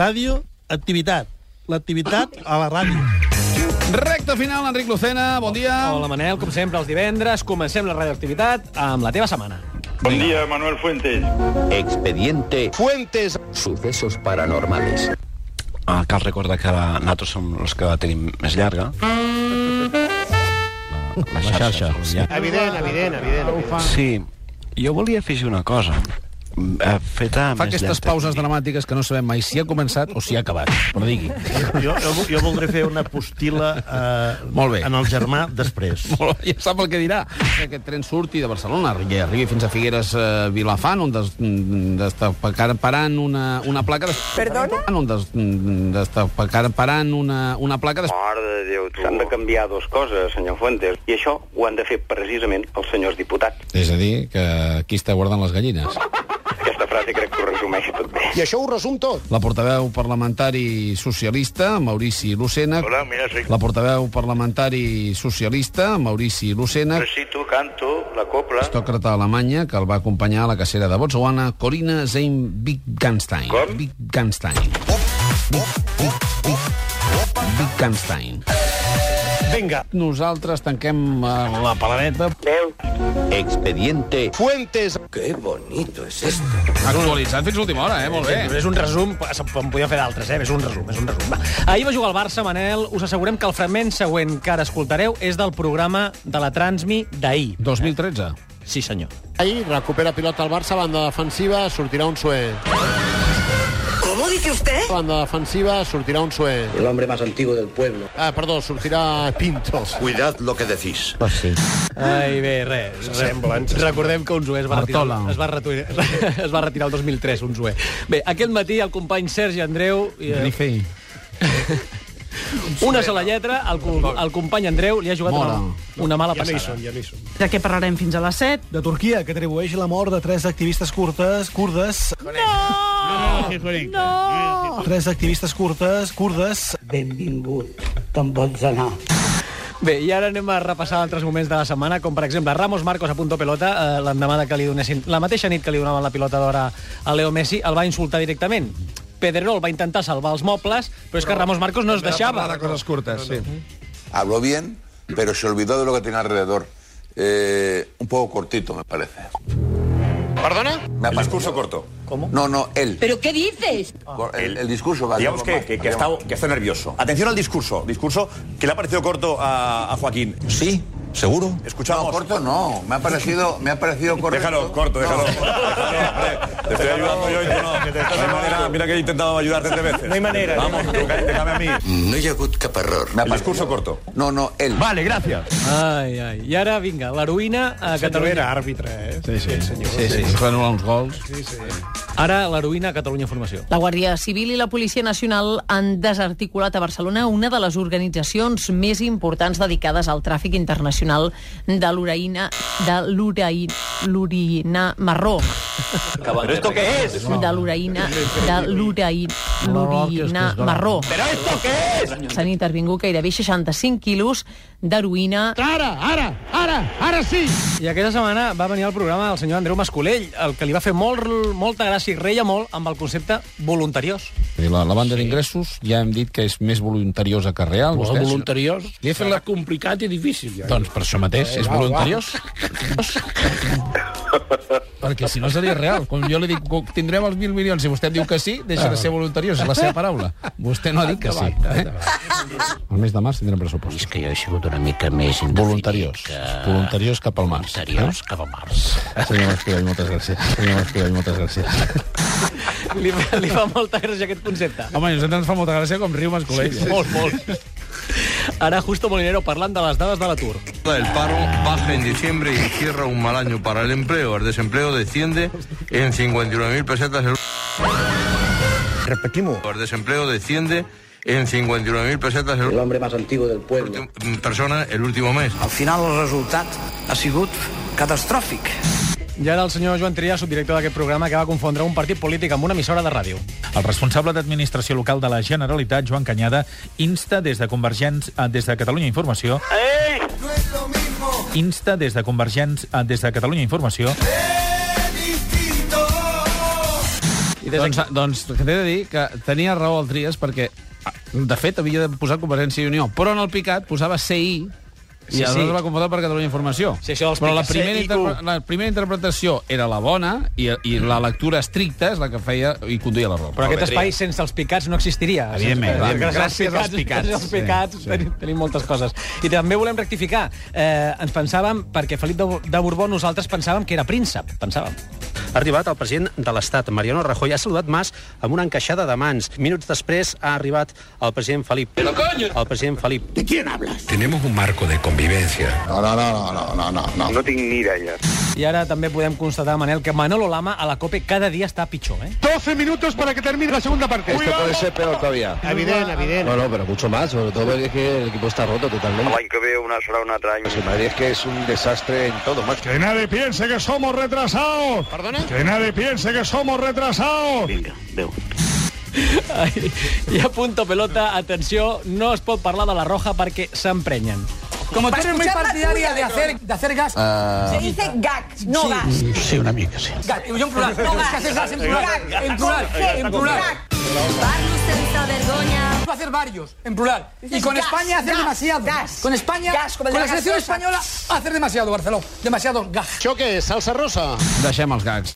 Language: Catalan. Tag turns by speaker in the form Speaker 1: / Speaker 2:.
Speaker 1: Ràdio, activitat. L'activitat a la ràdio.
Speaker 2: Recte final, Enric Lucena, bon dia.
Speaker 3: Hola, Manel, Eh, com sempre, els divendres comencem la radioactivitat amb la teva setmana.
Speaker 4: Buen día, Manuel Fuentes.
Speaker 5: Expediente
Speaker 6: Fuentes.
Speaker 5: Sucesos Paranormales.
Speaker 7: Ah, cal recordar que ara nosaltres som els que la tenim més llarga. La, la xarxa. La xarxa. Ja.
Speaker 6: Evident, evident, evident. evident.
Speaker 7: Sí, jo volia afegir una cosa. Mm, eh, Feta
Speaker 2: Fa
Speaker 7: més
Speaker 2: aquestes
Speaker 7: llarga.
Speaker 2: pauses dramàtiques que no sabem mai si ha començat o si ha acabat, però digui.
Speaker 1: Jo, jo, jo voldré fer una postila eh,
Speaker 2: Molt bé.
Speaker 1: en el germà després.
Speaker 2: Molt bé, Ja sap el que dirà. Que aquest tren surti de Barcelona, que arribi fins a Figueres eh, Vilafant, on destaparan una, una placa... De... Perdona? On des- mm, destaparan una, una placa... De...
Speaker 4: Mare de Déu, tu.
Speaker 8: S'han de canviar dues coses, senyor Fuentes, i això ho han de fer precisament els senyors diputats.
Speaker 2: És a dir, que aquí està guardant les gallines.
Speaker 8: Aquesta frase crec que ho resumeix tot bé.
Speaker 6: I això ho resum tot.
Speaker 2: La portaveu parlamentari socialista, Maurici Lucena...
Speaker 4: Hola, mira, soy...
Speaker 2: La portaveu parlamentari socialista, Maurici Lucena,
Speaker 4: Recito, canto, la copla.
Speaker 2: aristòcrata alemanya que el va acompanyar a la cacera de Botswana, Corina Zein Wittgenstein.
Speaker 4: Com?
Speaker 2: Wittgenstein. Wittgenstein.
Speaker 6: Vinga.
Speaker 2: Nosaltres tanquem eh, la paladeta.
Speaker 5: Expediente
Speaker 6: Fuentes.
Speaker 2: Actualitzat fins a última hora, eh? Molt
Speaker 3: Però és un resum, en podíem fer d'altres, eh? És un resum, és un resum. Va. Ahir va jugar al Barça, Manel. Us assegurem que el fragment següent que ara escoltareu és del programa de la Transmi d'ahir.
Speaker 2: 2013.
Speaker 3: Sí, senyor.
Speaker 6: Ahí recupera pilota el Barça, banda defensiva, sortirà un sué.
Speaker 9: ¿Cómo dice usted?
Speaker 6: Banda defensiva, sortirà un sué. El hombre más antiguo del pueblo. Ah, perdó, sortirà Pintos.
Speaker 5: Cuidad lo que decís.
Speaker 3: Ai, bé, res. Semblen. Recordem que un es va, retirar,
Speaker 2: Bartola.
Speaker 3: es, va retirar, es va retirar el 2003, un zoé. Bé, aquest matí el company Sergi Andreu... eh,
Speaker 2: Griffey.
Speaker 3: Una sola lletra, el, co- el company Andreu li ha jugat
Speaker 2: Mola.
Speaker 3: una, una mala passada.
Speaker 10: De què parlarem fins a les 7?
Speaker 1: De Turquia, que atribueix la mort de tres activistes curtes, curdes... No! No! Tres activistes curtes, curdes...
Speaker 9: Benvingut, te'n pots anar.
Speaker 3: Bé, i ara anem a repassar altres moments de la setmana, com per exemple Ramos Marcos a punto pelota, eh, l'endemà de que li donessin, la mateixa nit que li donaven la pilota d'hora a Leo Messi, el va insultar directament. Pedrerol va intentar salvar els mobles, però és que Ramos Marcos no es deixava.
Speaker 2: de coses curtes, sí.
Speaker 11: Habló bien, pero se olvidó de lo que tenía alrededor. Eh, un poco cortito, me parece.
Speaker 6: Perdona?
Speaker 11: Me el discurso corto.
Speaker 3: ¿Cómo?
Speaker 11: No, no, él.
Speaker 9: ¿Pero qué dices?
Speaker 11: El, el discurso va
Speaker 5: Digamos que, que, que está, que está nervioso. Atención al discurso. Discurso que le ha parecido corto a, a Joaquín.
Speaker 11: Sí, seguro.
Speaker 5: Escuchamos.
Speaker 11: No, corto no. Me ha parecido, me ha parecido corto.
Speaker 5: Déjalo, corto, déjalo. Déjalo, hombre. Te estoy ayudando yo y tú no. Que te estás de manera, mira que he intentado ayudarte tres veces. No hay manera. Vamos, tú, déjame a mí.
Speaker 7: No hi ha hagut cap error.
Speaker 11: Me ha
Speaker 5: El discurso corto.
Speaker 11: No, no, él.
Speaker 5: Vale, gracias.
Speaker 3: Ai, ai. I ara, vinga, l'heroïna a Catalunya...
Speaker 1: àrbitre, eh?
Speaker 2: Sí, sí, sí, sí. Es van anul·lar uns gols.
Speaker 3: Ara, l'heroïna a Catalunya Formació.
Speaker 10: La Guàrdia Civil i la Policia Nacional han desarticulat a Barcelona una de les organitzacions més importants dedicades al tràfic internacional de l'oreïna de l'oreïna l'orina marró.
Speaker 5: ¿Pero esto qué es?
Speaker 10: De l'oreïna de l'oreïna l'orina marró. Però esto què és? S'han intervingut gairebé 65 quilos d'heroïna
Speaker 6: Ara, ara, ara, ara sí!
Speaker 3: I aquesta setmana va venir al programa el senyor Andreu Mascolell, el que li va fer molt, molta gràcia i reia molt amb el concepte voluntariós.
Speaker 2: I La, la banda d'ingressos ja hem dit que és més voluntariosa que real.
Speaker 3: Bueno,
Speaker 2: vostès.
Speaker 3: voluntariós
Speaker 2: Li he fet la...
Speaker 3: complicat i difícil. Ja.
Speaker 2: Doncs per això mateix, és voluntariós. Perquè si no seria real. Quan jo li dic que tindrem els mil milions i vostè em diu que sí, deixa de ser voluntariós, és la seva paraula. Vostè no ha dit que sí. Eh? El mes de març tindrem pressupost.
Speaker 8: que jo he sigut una mica més
Speaker 2: Voluntariós. Voluntariós cap al març.
Speaker 8: seriós cap a març.
Speaker 2: Eh? Senyor Mascolell, moltes gràcies. Senyor Mascolell, moltes gràcies.
Speaker 3: Li, fa- li fa molta gràcia aquest concepte.
Speaker 2: Home, a nosaltres ens fa molta gràcia com riu Mascolell. Sí, sí.
Speaker 3: Molt, molt. Ara Justo Molinero parlant de les dades de l'atur.
Speaker 11: El paro baja en diciembre y cierra un mal año para el empleo. El desempleo desciende en 59.000 pesetas.
Speaker 6: Repetimos.
Speaker 11: El desempleo desciende en 59.000 pesetas el mm,
Speaker 8: L'home més antigo del pueblo.
Speaker 11: persona el último mes.
Speaker 8: Al final el resultat ha sigut catastròfic.
Speaker 3: I ara el senyor Joan Trias, subdirector d'aquest programa, que va confondre un partit polític amb una emissora de ràdio.
Speaker 8: El responsable d'Administració Local de la Generalitat, Joan Canyada, insta des de Convergents, eh, des de Catalunya Informació... Insta des de Convergents, eh, des de Catalunya Informació...
Speaker 3: I des
Speaker 2: doncs,
Speaker 3: d'aquí-
Speaker 2: doncs t'he de dir que tenia raó el Trias perquè, ah, de fet, havia de posar Convergència i Unió, però en el picat posava CI i
Speaker 3: Sí,
Speaker 2: sí, aleshores
Speaker 3: sí.
Speaker 2: sí. va convocar per Catalunya Informació.
Speaker 3: Sí, això dels
Speaker 2: Però la
Speaker 3: piques,
Speaker 2: primera,
Speaker 3: CIQ.
Speaker 2: interpre- la primera interpretació era la bona i, i la lectura estricta és la que feia i conduïa l'error.
Speaker 3: Però aquest espai sense els picats no existiria.
Speaker 2: Evidentment,
Speaker 3: Sense-
Speaker 2: evidentment. Gràcies als picats.
Speaker 3: Gràcies als picats.
Speaker 2: Sí, sí.
Speaker 3: Tenim, tenim moltes coses. I també volem rectificar. Eh, ens pensàvem, perquè Felip de, de Borbó nosaltres pensàvem que era príncep. Pensàvem.
Speaker 5: Ha arribat el president de l'Estat, Mariano Rajoy. Ha saludat Mas amb una encaixada de mans. Minuts després ha arribat el president Felip. El president Felip. De qui hablas?
Speaker 12: Tenemos un marco de convivencia. No, no, no, no, no, no. No, no tinc miralles.
Speaker 3: I ara també podem constatar, Manel, que Manolo Lama a la COPE cada dia està pitjor, eh?
Speaker 13: 12 minutos para que termine la segunda parte.
Speaker 8: Esto puede ser peor todavía.
Speaker 14: Evident, evident.
Speaker 8: No, no, pero mucho más, sobre todo porque es que el equipo está roto totalmente.
Speaker 4: que veo una sola una traña.
Speaker 8: Pues el Madrid es que es un desastre en todo, macho.
Speaker 13: Que nadie piense que somos retrasados. ¿Perdona? Que nadie piense que somos retrasados. Venga, veo.
Speaker 3: Ai, I a punto pelota, atenció, no es pot parlar de la roja perquè s'emprenyen.
Speaker 15: Como tú eres muy partidaria de hacer, de hacer gas.
Speaker 3: Ah.
Speaker 10: Se dice gag, no gas.
Speaker 12: Sí, una mica, sí.
Speaker 15: Gas, yo en plural.
Speaker 10: No
Speaker 15: es que haces gas en plural.
Speaker 10: Gag.
Speaker 15: En plural.
Speaker 10: Con G.
Speaker 15: En plural.
Speaker 10: Gag. Barnus senza vergoña.
Speaker 15: Va a hacer varios, en plural. Y
Speaker 10: Dices
Speaker 15: con
Speaker 10: gas,
Speaker 15: España hacer
Speaker 10: gas,
Speaker 15: demasiado.
Speaker 10: gas.
Speaker 15: Con España,
Speaker 10: Gas,
Speaker 15: con
Speaker 10: como el de
Speaker 15: la
Speaker 10: la
Speaker 15: selección
Speaker 10: gaseosa.
Speaker 15: española, hacer demasiado, Barcelona. Demasiado gas.
Speaker 14: Això què és? Salsa rosa?
Speaker 2: Deixem els gags.